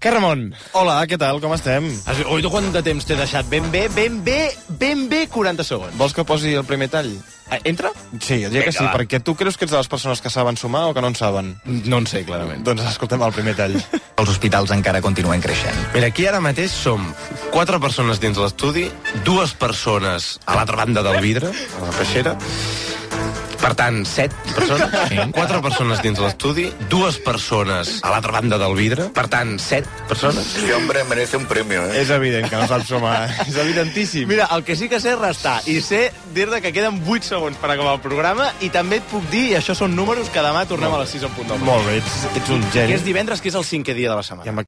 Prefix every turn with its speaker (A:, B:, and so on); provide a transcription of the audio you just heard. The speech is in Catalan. A: Què, Ramon?
B: Hola, què tal? Com estem?
A: Has, oi, tu quant de temps t'he deixat? Ben bé, ben bé, ben bé 40 segons.
B: Vols que posi el primer tall?
A: Eh, Entra?
B: Sí, jo diria
A: Vinga,
B: que sí,
A: va.
B: perquè tu creus que ets de les persones que saben sumar o que no en saben?
A: No en sé, clarament.
B: Doncs escoltem el primer tall.
C: Els hospitals encara continuen creixent.
D: Mira, aquí ara mateix som quatre persones dins l'estudi, dues persones a l'altra banda del vidre, a la peixera, per tant, set persones, quatre persones dins l'estudi, dues persones a l'altra banda del vidre, per tant, set persones.
E: Este hombre merece un premio, ¿eh?
B: és evident que no saps sumar. eh? és evidentíssim.
A: Mira, el que sí que sé és restar, i sé dir-te que queden 8 segons per acabar el programa, i també et puc dir, i això són números, que demà tornem a les 6 en punt del programa.
B: Molt bé, ets, ets un
A: Que
B: geni.
A: és divendres, que és el cinquè dia de la setmana.
B: I amb